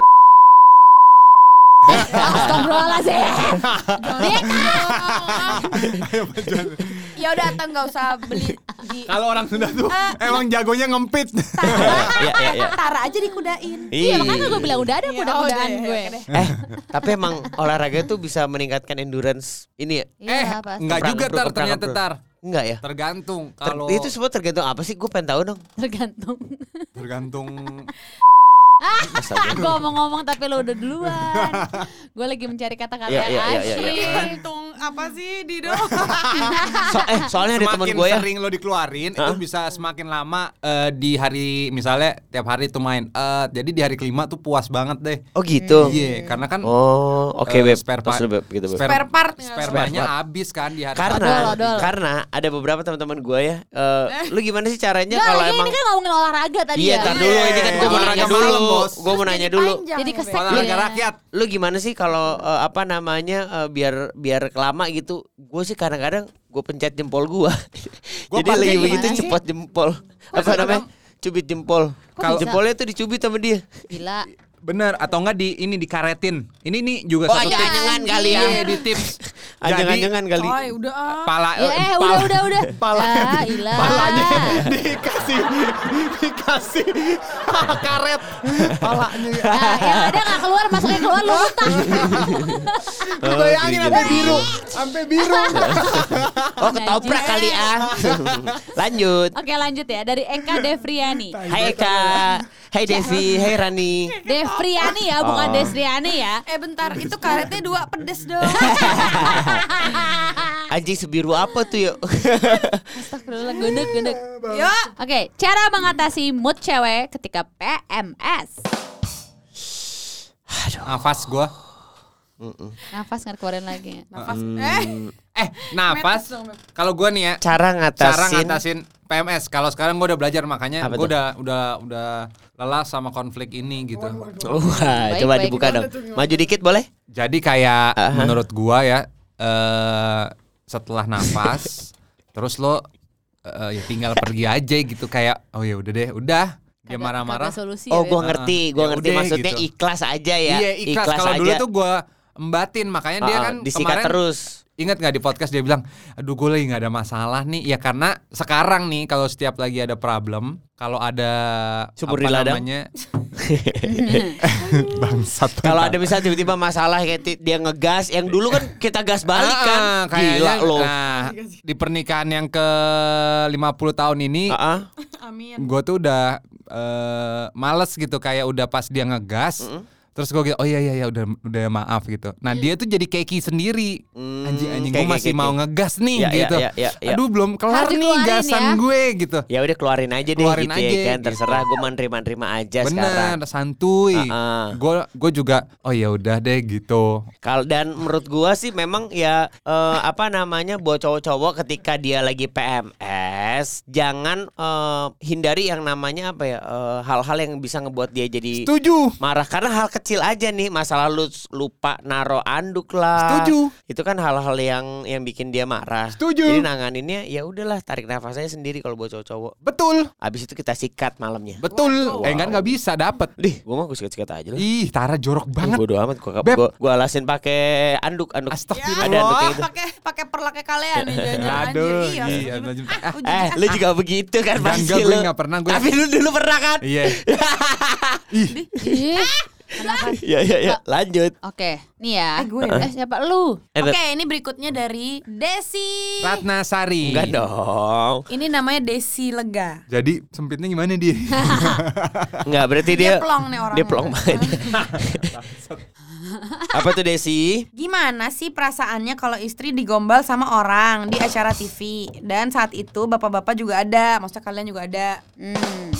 [SPEAKER 1] Iya,
[SPEAKER 3] Astagfirullahaladzim. Dia kan.
[SPEAKER 5] Ya udah atau nggak usah beli di
[SPEAKER 2] Kalau orang Sunda tuh emang jagonya ngempit.
[SPEAKER 1] Ya, ya, ya.
[SPEAKER 5] Tara aja dikudain.
[SPEAKER 3] Iya,
[SPEAKER 1] Ih.
[SPEAKER 3] makanya gue bilang udah ada
[SPEAKER 5] Iya,
[SPEAKER 3] kuda-kudaan
[SPEAKER 5] udah, ya,
[SPEAKER 3] gue.
[SPEAKER 5] oke deh.
[SPEAKER 1] Eh, tapi emang olahraga tuh bisa meningkatkan endurance ini ya?
[SPEAKER 2] eh,
[SPEAKER 3] Iya, pasti.
[SPEAKER 2] enggak
[SPEAKER 1] Keprang,
[SPEAKER 2] juga tar
[SPEAKER 1] keprang,
[SPEAKER 2] ternyata
[SPEAKER 1] keprang.
[SPEAKER 2] tar.
[SPEAKER 1] Enggak ya?
[SPEAKER 2] Tergantung
[SPEAKER 1] Ter-
[SPEAKER 2] kalau
[SPEAKER 1] Itu semua tergantung apa sih? Gue pengen tahu dong.
[SPEAKER 3] Tergantung.
[SPEAKER 2] tergantung
[SPEAKER 1] gitu?
[SPEAKER 3] Gue ngomong-ngomong tapi lo udah duluan. Gue lagi mencari kata-kata
[SPEAKER 1] Iya, iya,
[SPEAKER 3] yang
[SPEAKER 1] iya, iya,
[SPEAKER 3] asyik.
[SPEAKER 5] Untung apa sih Dido?
[SPEAKER 1] So- eh soalnya ada teman
[SPEAKER 2] semakin
[SPEAKER 1] gue ya.
[SPEAKER 2] sering lo dikeluarin itu bisa semakin lama eh, di hari misalnya tiap hari tuh main. Eh, jadi di hari kelima tuh puas banget deh.
[SPEAKER 1] Oh gitu.
[SPEAKER 2] Iya, karena kan
[SPEAKER 1] Oh, oke
[SPEAKER 2] eh,
[SPEAKER 1] beb.
[SPEAKER 2] spare
[SPEAKER 1] Tos
[SPEAKER 2] part-
[SPEAKER 1] dulu, Beb, gitu, Beb.
[SPEAKER 5] Spare part.
[SPEAKER 2] Spare
[SPEAKER 5] Spare
[SPEAKER 2] partnya habis kan di hari
[SPEAKER 1] Karena
[SPEAKER 3] Odol, odol.
[SPEAKER 1] karena ada beberapa teman-teman gue ya. eh, lu gimana sih caranya
[SPEAKER 3] Enggak,
[SPEAKER 1] kalau
[SPEAKER 3] lagi
[SPEAKER 1] emang
[SPEAKER 3] ini kan ngomongin olahraga tadi
[SPEAKER 1] Iya,
[SPEAKER 3] ya.
[SPEAKER 1] tar dulu ini kan gue mau nanya
[SPEAKER 2] Olahraga malam,
[SPEAKER 1] dulu.
[SPEAKER 2] Bos.
[SPEAKER 1] Gue mau nanya dulu.
[SPEAKER 3] Jadi
[SPEAKER 5] kesel.
[SPEAKER 3] kesek
[SPEAKER 2] olahraga
[SPEAKER 3] Iya.
[SPEAKER 2] rakyat.
[SPEAKER 1] Lu gimana sih kalau eh, apa namanya eh, biar biar kelama gitu? Gue sih kadang-kadang gue pencet jempol gue.
[SPEAKER 2] Gua
[SPEAKER 1] Jadi
[SPEAKER 2] pakai
[SPEAKER 1] lagi
[SPEAKER 3] gimana
[SPEAKER 1] begitu
[SPEAKER 3] sih?
[SPEAKER 1] cepot jempol. Apa namanya? Cubit jempol. Kalau
[SPEAKER 3] bisa?
[SPEAKER 1] jempolnya tuh dicubit sama dia.
[SPEAKER 3] Gila.
[SPEAKER 2] Bener atau enggak di ini dikaretin. Ini nih juga
[SPEAKER 1] Oh,
[SPEAKER 2] satu tips.
[SPEAKER 1] anjangan kali ya.
[SPEAKER 2] Iya, di tips. Jadi,
[SPEAKER 1] Anjangan-angan kali.
[SPEAKER 5] Coy, udah. ah.
[SPEAKER 2] Pala,
[SPEAKER 3] Ya, eh, udah,
[SPEAKER 2] pala-
[SPEAKER 3] udah, udah.
[SPEAKER 2] Pala,
[SPEAKER 3] Ya, ilah.
[SPEAKER 2] palanya dikasih dikasih karet palanya.
[SPEAKER 3] Nah, yang ada nggak keluar, masuknya keluar lu muntah.
[SPEAKER 1] Oh,
[SPEAKER 2] Bayangin
[SPEAKER 1] gitu.
[SPEAKER 2] sampai
[SPEAKER 3] iya.
[SPEAKER 2] biru, sampai biru.
[SPEAKER 1] Oh, ketoprak kali ah. Lanjut.
[SPEAKER 3] Oke lanjut ya dari Eka Devriani.
[SPEAKER 1] Hai Eka. Hai Devi, hai Rani.
[SPEAKER 3] Devriani ya bukan
[SPEAKER 1] Oh.
[SPEAKER 3] Desriani ya.
[SPEAKER 5] Eh bentar, itu karetnya dua pedes dong.
[SPEAKER 1] Anjing sebiru apa tuh yuk?
[SPEAKER 3] Astagfirullah gundek gundek.
[SPEAKER 5] Yo,
[SPEAKER 3] Oke cara mengatasi mood cewek ketika PMS.
[SPEAKER 2] Nafas gua.
[SPEAKER 3] Nafas nggak keluarin lagi.
[SPEAKER 5] nafas.
[SPEAKER 1] Hmm.
[SPEAKER 5] Eh,
[SPEAKER 2] Eh, nafas. Kalau gua nih ya,
[SPEAKER 1] Cara ngatasin.
[SPEAKER 2] cara ngatasin PMS. Kalau sekarang gue udah belajar makanya
[SPEAKER 1] Apa tuh?
[SPEAKER 2] gue udah udah udah lelah sama konflik ini gitu.
[SPEAKER 1] Wah,
[SPEAKER 3] Baik,
[SPEAKER 1] coba
[SPEAKER 3] baik.
[SPEAKER 1] dibuka dong. Maju dikit boleh?
[SPEAKER 2] Jadi kayak menurut gua ya eh setelah nafas terus lo eh, ya tinggal pergi aja gitu kayak oh ya udah deh, udah. Dia
[SPEAKER 3] Kagak-
[SPEAKER 2] marah-marah.
[SPEAKER 3] kagak Solusi.
[SPEAKER 1] Oh,
[SPEAKER 3] ya,
[SPEAKER 1] gua
[SPEAKER 3] Beb.
[SPEAKER 1] ngerti,
[SPEAKER 2] Ah,
[SPEAKER 1] gua
[SPEAKER 2] ya
[SPEAKER 1] ngerti
[SPEAKER 2] udah,
[SPEAKER 1] maksudnya
[SPEAKER 2] gitu.
[SPEAKER 1] ikhlas aja ya.
[SPEAKER 2] Iya, ikhlas. Kalau dulu tuh gua embatin makanya dia
[SPEAKER 1] Ah,
[SPEAKER 2] kan
[SPEAKER 1] disikat
[SPEAKER 2] kemarin
[SPEAKER 1] terus.
[SPEAKER 2] Ingat nggak di podcast dia bilang, aduh gue lagi nggak ada masalah nih. Ya karena sekarang nih kalau setiap lagi ada problem, kalau ada
[SPEAKER 1] Subur di ladang.
[SPEAKER 2] namanya bangsat.
[SPEAKER 1] Kalau ada misalnya tiba-tiba masalah kayak ti- dia ngegas, yang dulu kan kita gas balik kan.
[SPEAKER 2] Ah, ah,
[SPEAKER 1] Gila
[SPEAKER 2] kayaknya,
[SPEAKER 1] lo.
[SPEAKER 2] Nah, di pernikahan yang ke 50 tahun ini,
[SPEAKER 1] Ah, ah.
[SPEAKER 5] amin.
[SPEAKER 2] gue Iya. tuh udah eh, males gitu kayak udah pas dia ngegas. Terus gue gitu, oh iya iya iya udah udah maaf gitu. Nah dia tuh jadi keki sendiri,
[SPEAKER 1] Iya. Hmm,
[SPEAKER 2] anjing anjing gue
[SPEAKER 1] keki,
[SPEAKER 2] masih
[SPEAKER 1] keki.
[SPEAKER 2] mau ngegas nih
[SPEAKER 1] Ya, ya,
[SPEAKER 2] gitu.
[SPEAKER 1] ya, ya, ya.
[SPEAKER 2] Aduh belum kelar
[SPEAKER 3] Harus
[SPEAKER 2] nih
[SPEAKER 3] dikeluarin
[SPEAKER 2] gasan
[SPEAKER 3] ya.
[SPEAKER 2] gue gitu.
[SPEAKER 1] Ya udah keluarin aja deh
[SPEAKER 2] Keluarin
[SPEAKER 1] gitu
[SPEAKER 2] aja,
[SPEAKER 1] ya kan.
[SPEAKER 2] gitu.
[SPEAKER 1] Terserah gua mau nerima-nerima aja Iya, sekarang.
[SPEAKER 2] Bener, santuy.
[SPEAKER 1] Ah, ah.
[SPEAKER 2] Gue gue juga, oh ya udah deh gitu.
[SPEAKER 1] Kalau dan menurut gua sih memang ya eh, apa namanya buat cowok-cowok ketika dia lagi PMS jangan eh, hindari yang namanya apa ya eh, hal-hal yang bisa ngebuat dia jadi
[SPEAKER 2] Setuju.
[SPEAKER 1] marah karena hal kecil aja nih masalah lu s- lupa naro anduk lah.
[SPEAKER 2] Setuju.
[SPEAKER 1] Itu kan hal-hal yang yang bikin dia marah.
[SPEAKER 2] Setuju.
[SPEAKER 1] Jadi nanganinnya ya udahlah tarik nafasnya sendiri kalau buat cowok-cowok.
[SPEAKER 2] Betul,
[SPEAKER 1] Abis itu kita sikat malamnya.
[SPEAKER 2] betul. Eh kan nggak bisa dapet.
[SPEAKER 1] Dih, gua mah gua sikat-sikat aja lah.
[SPEAKER 2] Ih, Tara jorok
[SPEAKER 1] Ih,
[SPEAKER 2] banget.
[SPEAKER 1] Bodo amat gua
[SPEAKER 2] Beb.
[SPEAKER 1] gua, gua alasin pakai anduk anduk.
[SPEAKER 2] Astagfirullah.
[SPEAKER 1] Ada anduk kayak gitu.
[SPEAKER 5] Ya, Pakai pakai perlaknya kalian nih jangan anjir.
[SPEAKER 2] Aduh,
[SPEAKER 5] Iya.
[SPEAKER 2] iya,
[SPEAKER 5] astagfirullah.
[SPEAKER 2] iya.
[SPEAKER 5] Ah, ujung-
[SPEAKER 1] Eh, lu juga begitu kan
[SPEAKER 2] Enggak,
[SPEAKER 1] pasti
[SPEAKER 2] enggak, gue
[SPEAKER 1] lu.
[SPEAKER 2] enggak pernah, gue-
[SPEAKER 1] Tapi lu dulu pernah kan?
[SPEAKER 2] Iya.
[SPEAKER 3] Ih, kenapa?
[SPEAKER 1] Iya, iya, iya. Lanjut.
[SPEAKER 3] Oke, nih ya.
[SPEAKER 5] Eh, gue.
[SPEAKER 3] Eh, siapa lu?
[SPEAKER 1] Eh,
[SPEAKER 5] Oke, ini berikutnya dari Desi.
[SPEAKER 2] Ratna Sari.
[SPEAKER 1] Enggak dong.
[SPEAKER 5] Ini namanya Desi Lega.
[SPEAKER 2] Jadi sempitnya gimana dia?
[SPEAKER 1] Enggak, berarti dia
[SPEAKER 5] Dia plong nih orangnya.
[SPEAKER 1] Dia plong banget. Apa tuh Desi?
[SPEAKER 5] Gimana sih perasaannya kalau istri digombal sama orang di acara TV? Dan saat itu bapak-bapak juga ada, maksudnya kalian juga ada.
[SPEAKER 3] Hmm.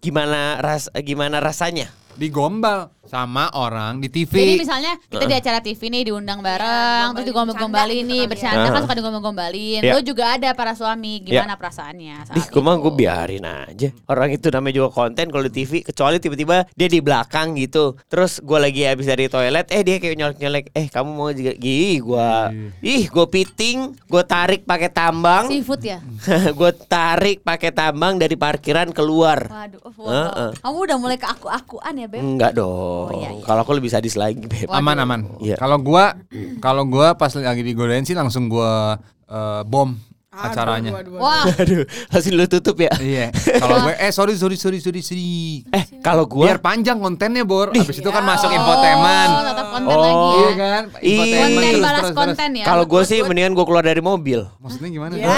[SPEAKER 1] Gimana ras gimana rasanya?
[SPEAKER 2] Digombal sama orang di TV.
[SPEAKER 3] Jadi misalnya kita
[SPEAKER 1] Eh.
[SPEAKER 3] di acara TV nih diundang bareng, terus
[SPEAKER 5] digombalin,
[SPEAKER 3] digombal-gombalin
[SPEAKER 5] bercanda
[SPEAKER 3] nih,
[SPEAKER 5] Iya, gitu
[SPEAKER 3] bercanda kan
[SPEAKER 1] Ah.
[SPEAKER 3] suka digombal-gombalin.
[SPEAKER 1] Iya.
[SPEAKER 3] Lu juga ada para suami, gimana perasaannya saat
[SPEAKER 1] Dih, gue mah
[SPEAKER 3] itu?
[SPEAKER 1] gue biarin aja. Orang itu namanya juga konten kalau di TV, kecuali tiba-tiba dia di belakang gitu. Terus gue lagi habis dari toilet, eh dia kayak nyolek-nyolek. Eh kamu mau juga? Ih, gue,
[SPEAKER 2] Iya.
[SPEAKER 1] ih gue piting, gue tarik pakai tambang.
[SPEAKER 3] Seafood ya?
[SPEAKER 1] gue tarik pakai tambang dari parkiran keluar.
[SPEAKER 3] Waduh, oh, wow.
[SPEAKER 1] Heeh.
[SPEAKER 3] kamu udah mulai ke aku-akuan ya, Beb?
[SPEAKER 1] Enggak dong.
[SPEAKER 3] iya, iya.
[SPEAKER 1] Kalau aku lebih sadis lagi, Beb.
[SPEAKER 2] aman aman.
[SPEAKER 1] Iya.
[SPEAKER 2] Kalau gua kalau gua pas lagi digodain sih langsung gua eh, bom. acaranya.
[SPEAKER 3] Wah,
[SPEAKER 1] Aduh, langsung lu tutup ya.
[SPEAKER 2] Iya. Kalau gue eh sorry sorry sorry sorry sorry.
[SPEAKER 1] Eh, kalau gua
[SPEAKER 2] Biar panjang kontennya Bor. Habis itu kan
[SPEAKER 3] Ya
[SPEAKER 2] masuk infotainment.
[SPEAKER 3] oh, tetap konten
[SPEAKER 1] Oh.
[SPEAKER 3] lagi
[SPEAKER 2] Iya
[SPEAKER 3] ya.
[SPEAKER 2] kan?
[SPEAKER 1] Ih.
[SPEAKER 2] Infotainment
[SPEAKER 3] Konten balas
[SPEAKER 2] terus, terus, terus.
[SPEAKER 3] konten ya.
[SPEAKER 1] kalau gua sih mendingan gua keluar dari mobil.
[SPEAKER 2] Maksudnya gimana?
[SPEAKER 5] Ya.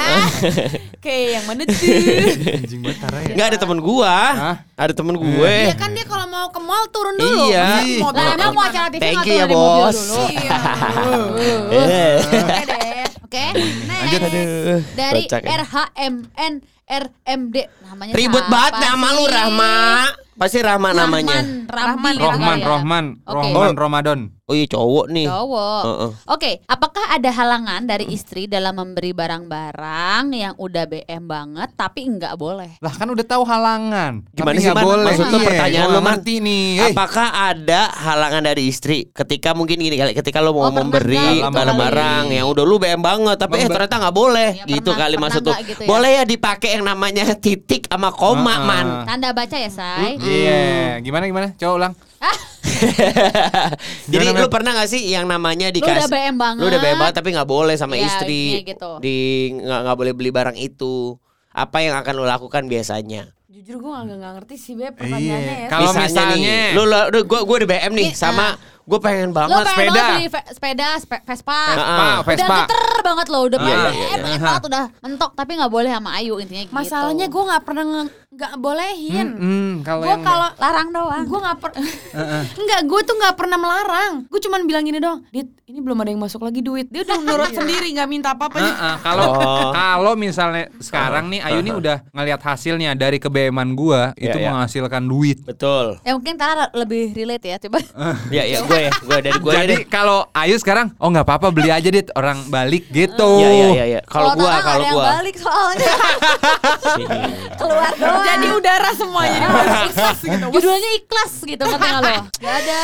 [SPEAKER 5] Oke, yang mana tuh?
[SPEAKER 2] Anjing banget Tara ya.
[SPEAKER 1] Enggak ada temen gua.
[SPEAKER 2] Hah?
[SPEAKER 1] Ada temen gue.
[SPEAKER 5] Iya kan dia kalau mau ke mall turun dulu.
[SPEAKER 1] Iya.
[SPEAKER 5] Masa mobil
[SPEAKER 3] Lah emang mau
[SPEAKER 5] gimana?
[SPEAKER 3] acara TV
[SPEAKER 1] Thank
[SPEAKER 3] nggak
[SPEAKER 1] you
[SPEAKER 3] tuh
[SPEAKER 1] ya,
[SPEAKER 3] dari mobil
[SPEAKER 1] bos.
[SPEAKER 3] dulu?
[SPEAKER 5] Iya.
[SPEAKER 1] Eh.
[SPEAKER 5] Oke deh.
[SPEAKER 3] Oke,
[SPEAKER 2] Lanjut.
[SPEAKER 3] next.
[SPEAKER 1] Aduh,
[SPEAKER 3] dari
[SPEAKER 1] kocak ya.
[SPEAKER 3] RHMN RMD namanya
[SPEAKER 1] Ribet
[SPEAKER 3] siapa
[SPEAKER 1] banget nama lu
[SPEAKER 3] sih?
[SPEAKER 1] Rahma. Pasti Rahma namanya.
[SPEAKER 3] Rahman, Rahman,
[SPEAKER 2] Rohman,
[SPEAKER 3] ya.
[SPEAKER 2] Rohman,
[SPEAKER 3] Oke.
[SPEAKER 2] Rohman, Ramadan.
[SPEAKER 1] Oh iya cowok nih.
[SPEAKER 3] Cowok.
[SPEAKER 1] Heeh.
[SPEAKER 3] Oke, apakah ada halangan dari istri dalam memberi barang-barang yang udah BM banget tapi nggak boleh?
[SPEAKER 2] Lah kan udah tahu halangan.
[SPEAKER 1] Gimana
[SPEAKER 2] Tapi
[SPEAKER 1] sih
[SPEAKER 2] nggak
[SPEAKER 1] Man?
[SPEAKER 2] boleh.
[SPEAKER 1] Maksud lu
[SPEAKER 2] Iya,
[SPEAKER 1] pertanyaan
[SPEAKER 2] gua
[SPEAKER 1] lu Man?
[SPEAKER 2] ngerti nih. Eh, Hei.
[SPEAKER 1] Apakah ada halangan dari istri ketika mungkin gini kali ketika lo mau
[SPEAKER 3] Oh, pernah
[SPEAKER 1] memberi
[SPEAKER 2] nggak gitu
[SPEAKER 1] barang-barang
[SPEAKER 2] kali?
[SPEAKER 1] yang udah lu BM banget tapi eh
[SPEAKER 2] Member-
[SPEAKER 1] ternyata nggak boleh
[SPEAKER 3] Ya,
[SPEAKER 1] gitu
[SPEAKER 3] pernah-
[SPEAKER 1] kali
[SPEAKER 3] pernah
[SPEAKER 1] maksud tuh.
[SPEAKER 3] nggak gitu ya?
[SPEAKER 1] Boleh ya dipakai yang namanya titik sama koma
[SPEAKER 2] Ah,
[SPEAKER 1] man.
[SPEAKER 2] ah.
[SPEAKER 3] Tanda baca ya, Say.
[SPEAKER 2] Iya, gimana gimana? Coba ulang.
[SPEAKER 1] Jadi
[SPEAKER 2] Gimana,
[SPEAKER 1] lu
[SPEAKER 2] Man?
[SPEAKER 1] pernah gak sih yang namanya
[SPEAKER 3] Lu udah
[SPEAKER 1] dikasih
[SPEAKER 3] BM banget.
[SPEAKER 1] Lu udah BM banget tapi nggak boleh sama
[SPEAKER 3] Iya,
[SPEAKER 1] istri.
[SPEAKER 3] intinya gitu.
[SPEAKER 1] Di nggak nggak boleh beli barang itu. Apa yang akan lu lakukan biasanya?
[SPEAKER 5] Jujur gue agak nggak ngerti sih Beb pertanyaannya
[SPEAKER 2] Iya.
[SPEAKER 5] ya.
[SPEAKER 2] Kalau misalnya-
[SPEAKER 1] nih, lu, lu, lu gua gua udah BM nih
[SPEAKER 3] Iya.
[SPEAKER 1] sama gue pengen
[SPEAKER 3] Lu
[SPEAKER 1] banget
[SPEAKER 3] pengen
[SPEAKER 1] sepeda.
[SPEAKER 3] banget beli ve- sepeda, spe- Vespa.
[SPEAKER 1] Ah,
[SPEAKER 2] Vespa,
[SPEAKER 1] ah.
[SPEAKER 3] Udah
[SPEAKER 2] Vespa.
[SPEAKER 3] geter banget loh, udah
[SPEAKER 2] Iya,
[SPEAKER 3] BM,
[SPEAKER 1] iya, iya.
[SPEAKER 3] BM banget udah mentok tapi nggak boleh sama Ayu intinya gitu.
[SPEAKER 5] Masalahnya gue nggak pernah nge- nggak bolehin.
[SPEAKER 2] Hmm, kalau
[SPEAKER 5] Gue
[SPEAKER 2] yang-
[SPEAKER 5] kalau
[SPEAKER 3] larang doang.
[SPEAKER 5] gue nggak per nggak gue tuh nggak pernah melarang gue cuman bilang gini doang dit ini belum ada yang masuk lagi duit dia udah nurut sendiri nggak minta apa apa
[SPEAKER 2] Heeh, kalau
[SPEAKER 1] Oh.
[SPEAKER 2] kalau misalnya sekarang nih Ayu nih udah ngelihat hasilnya dari kebeman gua itu
[SPEAKER 1] Iya, iya.
[SPEAKER 2] menghasilkan duit.
[SPEAKER 1] Betul.
[SPEAKER 3] Ya mungkin Tara lebih relate ya, coba.
[SPEAKER 1] Ya ya gue ya, gue dari gue
[SPEAKER 2] Jadi
[SPEAKER 1] dari
[SPEAKER 2] kalau Ayu sekarang oh nggak apa-apa beli aja dit orang balik gitu.
[SPEAKER 1] Ya ya ya ya. Kalau gua
[SPEAKER 3] Tara nggak
[SPEAKER 1] kalau
[SPEAKER 3] ada yang
[SPEAKER 1] gua.
[SPEAKER 3] balik soalnya keluar doang.
[SPEAKER 5] jadi udara semuanya jadi ikhlas gitu
[SPEAKER 3] Judulnya ikhlas gitu ngerti nggak lo? Gak ada.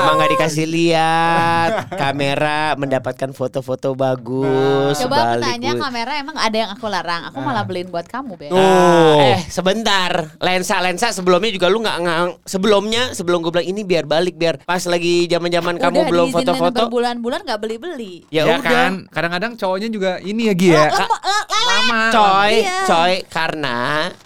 [SPEAKER 1] Emang gak dikasih lihat kamera mendapatkan foto-foto bagus.
[SPEAKER 3] Coba aku
[SPEAKER 1] balik Nah.
[SPEAKER 3] tanya
[SPEAKER 1] gua.
[SPEAKER 3] kamera emang ada yang aku larang. Aku malah beliin buat kamu, Beb.
[SPEAKER 2] Tuh.
[SPEAKER 1] Ah, eh sebentar lensa lensa sebelumnya juga lu nggak ngang sebelumnya sebelum gue bilang ini biar balik biar pas lagi zaman zaman kamu belum foto-foto
[SPEAKER 3] berbulan-bulan gak beli-beli.
[SPEAKER 1] ya,
[SPEAKER 2] Ya
[SPEAKER 1] udah
[SPEAKER 2] kan, kadang-kadang cowoknya juga ini ya Gi
[SPEAKER 1] Iya,
[SPEAKER 2] ya.
[SPEAKER 3] Lama, la- lala.
[SPEAKER 2] Lama.
[SPEAKER 1] coy
[SPEAKER 3] Iya.
[SPEAKER 1] coy karena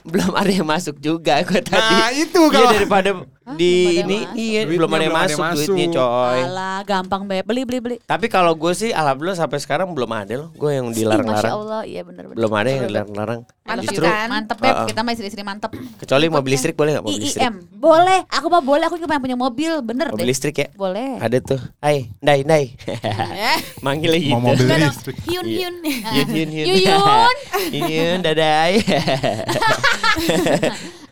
[SPEAKER 1] belum ada yang masuk juga gue tadi
[SPEAKER 2] Nah, itu
[SPEAKER 1] Iya,
[SPEAKER 2] kalau-
[SPEAKER 1] daripada di
[SPEAKER 3] belum ada yang
[SPEAKER 1] ini
[SPEAKER 3] masuk.
[SPEAKER 1] iya
[SPEAKER 2] Duitnya
[SPEAKER 1] belum ada yang
[SPEAKER 2] belum ada
[SPEAKER 1] masuk
[SPEAKER 2] yang
[SPEAKER 1] duitnya
[SPEAKER 2] masuk.
[SPEAKER 1] coy
[SPEAKER 3] Alah, gampang Beb. Beli beli beli.
[SPEAKER 1] tapi kalau gue sih alhamdulillah sampai sekarang belum ada loh gue yang
[SPEAKER 3] Ih, Masya
[SPEAKER 1] dilarang-larang
[SPEAKER 3] Allah, iya bener bener.
[SPEAKER 1] belum ada yang dilarang-larang
[SPEAKER 3] Mantep
[SPEAKER 1] justru
[SPEAKER 3] kan? Mantep Beb,
[SPEAKER 1] Uh-uh.
[SPEAKER 3] kita mah istri-istri mantep.
[SPEAKER 1] kecuali
[SPEAKER 3] ya?
[SPEAKER 1] mau beli listrik boleh nggak mau beli listrik
[SPEAKER 3] IIM. Boleh, aku mah boleh, aku juga pengen punya mobil, bener
[SPEAKER 1] mau
[SPEAKER 3] deh.
[SPEAKER 1] beli listrik ya
[SPEAKER 3] Boleh.
[SPEAKER 1] ada tuh hai ndai ndai
[SPEAKER 3] Eh.
[SPEAKER 1] manggilnya gitu
[SPEAKER 2] Mau mobil listrik.
[SPEAKER 5] hiun
[SPEAKER 1] Iya.
[SPEAKER 5] hiun
[SPEAKER 1] Yun Yun Yun
[SPEAKER 3] Yuyun.
[SPEAKER 1] Yun Yun dadai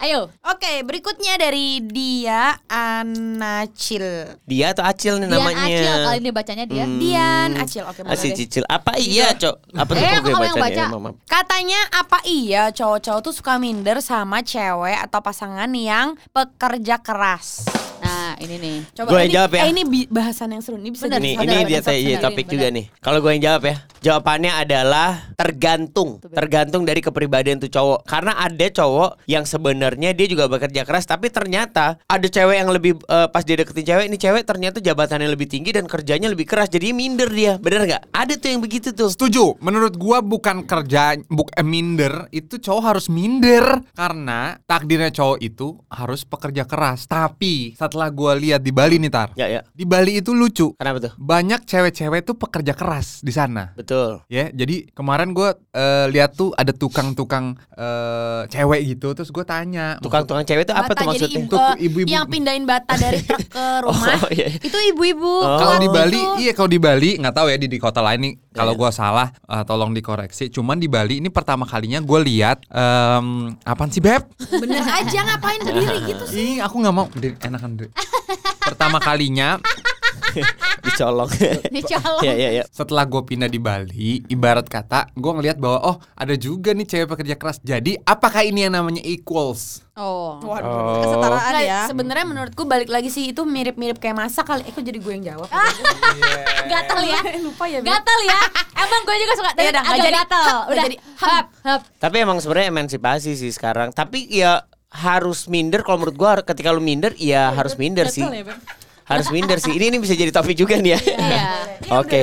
[SPEAKER 3] Ayo.
[SPEAKER 5] Oke, berikutnya dari dia Anacil.
[SPEAKER 1] Dia atau Acil nih
[SPEAKER 3] Dian
[SPEAKER 1] namanya
[SPEAKER 3] Iya, Acil kali ini bacanya dia.
[SPEAKER 5] Hmm.
[SPEAKER 1] Hmm.
[SPEAKER 5] Dian Acil, oke mana
[SPEAKER 1] Masih
[SPEAKER 5] deh.
[SPEAKER 1] cicil Apa iya cok Apa tuh
[SPEAKER 3] Eh,
[SPEAKER 1] kok
[SPEAKER 3] aku
[SPEAKER 1] gue
[SPEAKER 3] kamu yang
[SPEAKER 1] baca
[SPEAKER 3] baca.
[SPEAKER 1] ya mama
[SPEAKER 5] Katanya apa iya cowok-cowok tuh suka minder sama cewek atau pasangan yang pekerja keras.
[SPEAKER 3] Nah, ini nih.
[SPEAKER 5] Coba
[SPEAKER 1] Gua yang
[SPEAKER 5] ini,
[SPEAKER 1] jawab ya.
[SPEAKER 5] eh, ini bi- bahasan yang seru nih bisa
[SPEAKER 3] Bener,
[SPEAKER 1] Ini,
[SPEAKER 3] sadar,
[SPEAKER 1] ini
[SPEAKER 3] bener,
[SPEAKER 1] dia
[SPEAKER 3] sadar,
[SPEAKER 1] iya,
[SPEAKER 3] sadar,
[SPEAKER 1] topik
[SPEAKER 3] bener.
[SPEAKER 1] juga nih. Kalau gue yang jawab ya, jawabannya adalah tergantung, tergantung dari kepribadian tuh cowok. Karena ada cowok yang sebenarnya dia juga bekerja keras, tapi ternyata ada cewek yang lebih eh, pas dia deketin cewek, ini cewek ternyata jabatannya lebih tinggi dan kerjanya lebih keras, jadi minder dia. Bener nggak? Ada tuh yang begitu tuh.
[SPEAKER 2] Setuju. Menurut gua bukan kerja buk eh, minder, itu cowok harus minder karena takdirnya cowok itu harus pekerja keras. Tapi setelah gua lihat di Bali nih Tar.
[SPEAKER 1] Ya ya.
[SPEAKER 2] Di Bali itu lucu.
[SPEAKER 1] Kenapa tuh?
[SPEAKER 2] Banyak cewek-cewek tuh pekerja keras di sana.
[SPEAKER 1] Betul.
[SPEAKER 2] Ya, jadi kemarin gua eh, lihat tuh ada tukang-tukang eh, cewek gitu, terus gua tanya,
[SPEAKER 1] Tukang-tukang cewek tuh apa
[SPEAKER 5] Bata
[SPEAKER 1] tuh
[SPEAKER 5] jadi
[SPEAKER 1] maksudnya?
[SPEAKER 5] ibu,
[SPEAKER 2] Untuk ibu-ibu.
[SPEAKER 5] yang pindahin bata dari truk ke rumah
[SPEAKER 1] Oh, iya. Oh.
[SPEAKER 5] itu ibu-ibu.
[SPEAKER 2] Kalau di
[SPEAKER 5] Itu-
[SPEAKER 2] Bali, iya kalau di Bali nggak tahu ya di, di kota lain nih.
[SPEAKER 5] Iya,
[SPEAKER 2] Kalau gua salah, eh, tolong dikoreksi. Cuman di Bali ini pertama kalinya gue lihat, em, apaan sih beb?
[SPEAKER 5] bener aja ngapain berdiri gitu sih.
[SPEAKER 2] Ih, aku nggak mau. Diri, enakan diri. Pertama kalinya
[SPEAKER 1] Dicolong.
[SPEAKER 3] Dicolong.
[SPEAKER 1] ya ya ya.
[SPEAKER 2] setelah gue pindah di Bali, ibarat kata gue ngelihat bahwa oh ada juga nih cewek pekerja keras. Jadi apakah ini yang namanya equals?
[SPEAKER 3] Oh.
[SPEAKER 5] Kesetaraan
[SPEAKER 3] ya.
[SPEAKER 5] Sebenarnya menurutku balik lagi sih itu mirip-mirip kayak masa kali. Eh kok jadi gue yang jawab?
[SPEAKER 3] Gatel ya.
[SPEAKER 5] Lupa ya. Beb.
[SPEAKER 3] Gatel ya. Emang gue juga suka
[SPEAKER 5] Ya
[SPEAKER 3] dari
[SPEAKER 5] udah, nggak
[SPEAKER 3] agak
[SPEAKER 5] jadi.
[SPEAKER 3] gatel.
[SPEAKER 5] Hap, nggak
[SPEAKER 3] Udah
[SPEAKER 5] jadi.
[SPEAKER 3] hap hap.
[SPEAKER 1] Tapi emang sebenarnya emansipasi sih sekarang.
[SPEAKER 3] Iya,
[SPEAKER 1] Tapi ya harus minder kalau menurut gua ketika lu minder ya harus minder sih.
[SPEAKER 5] Gatel ya, Beb?
[SPEAKER 1] harus minder sih. Ini ini bisa jadi topik juga nih ya.
[SPEAKER 3] Iya.
[SPEAKER 1] Oke.
[SPEAKER 3] Oke,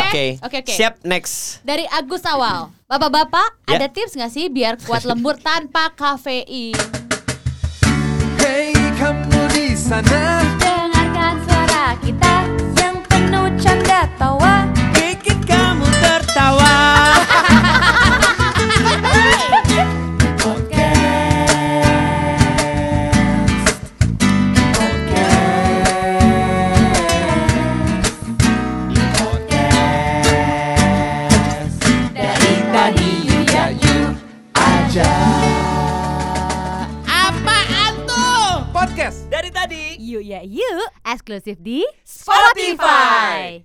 [SPEAKER 1] Oke.
[SPEAKER 3] oke, oke.
[SPEAKER 1] Siap next.
[SPEAKER 3] Dari Agus Awal. Bapak-bapak,
[SPEAKER 1] Ya.
[SPEAKER 3] ada tips nggak sih biar kuat lembur tanpa kafein?
[SPEAKER 2] Hei kamu di sana
[SPEAKER 5] Dengarkan suara kita yang penuh canda tawa.
[SPEAKER 1] Bikin kamu tertawa.
[SPEAKER 7] Podcast.
[SPEAKER 1] Dari tadi.
[SPEAKER 3] Yuk ya yuk, eksklusif di Spotify.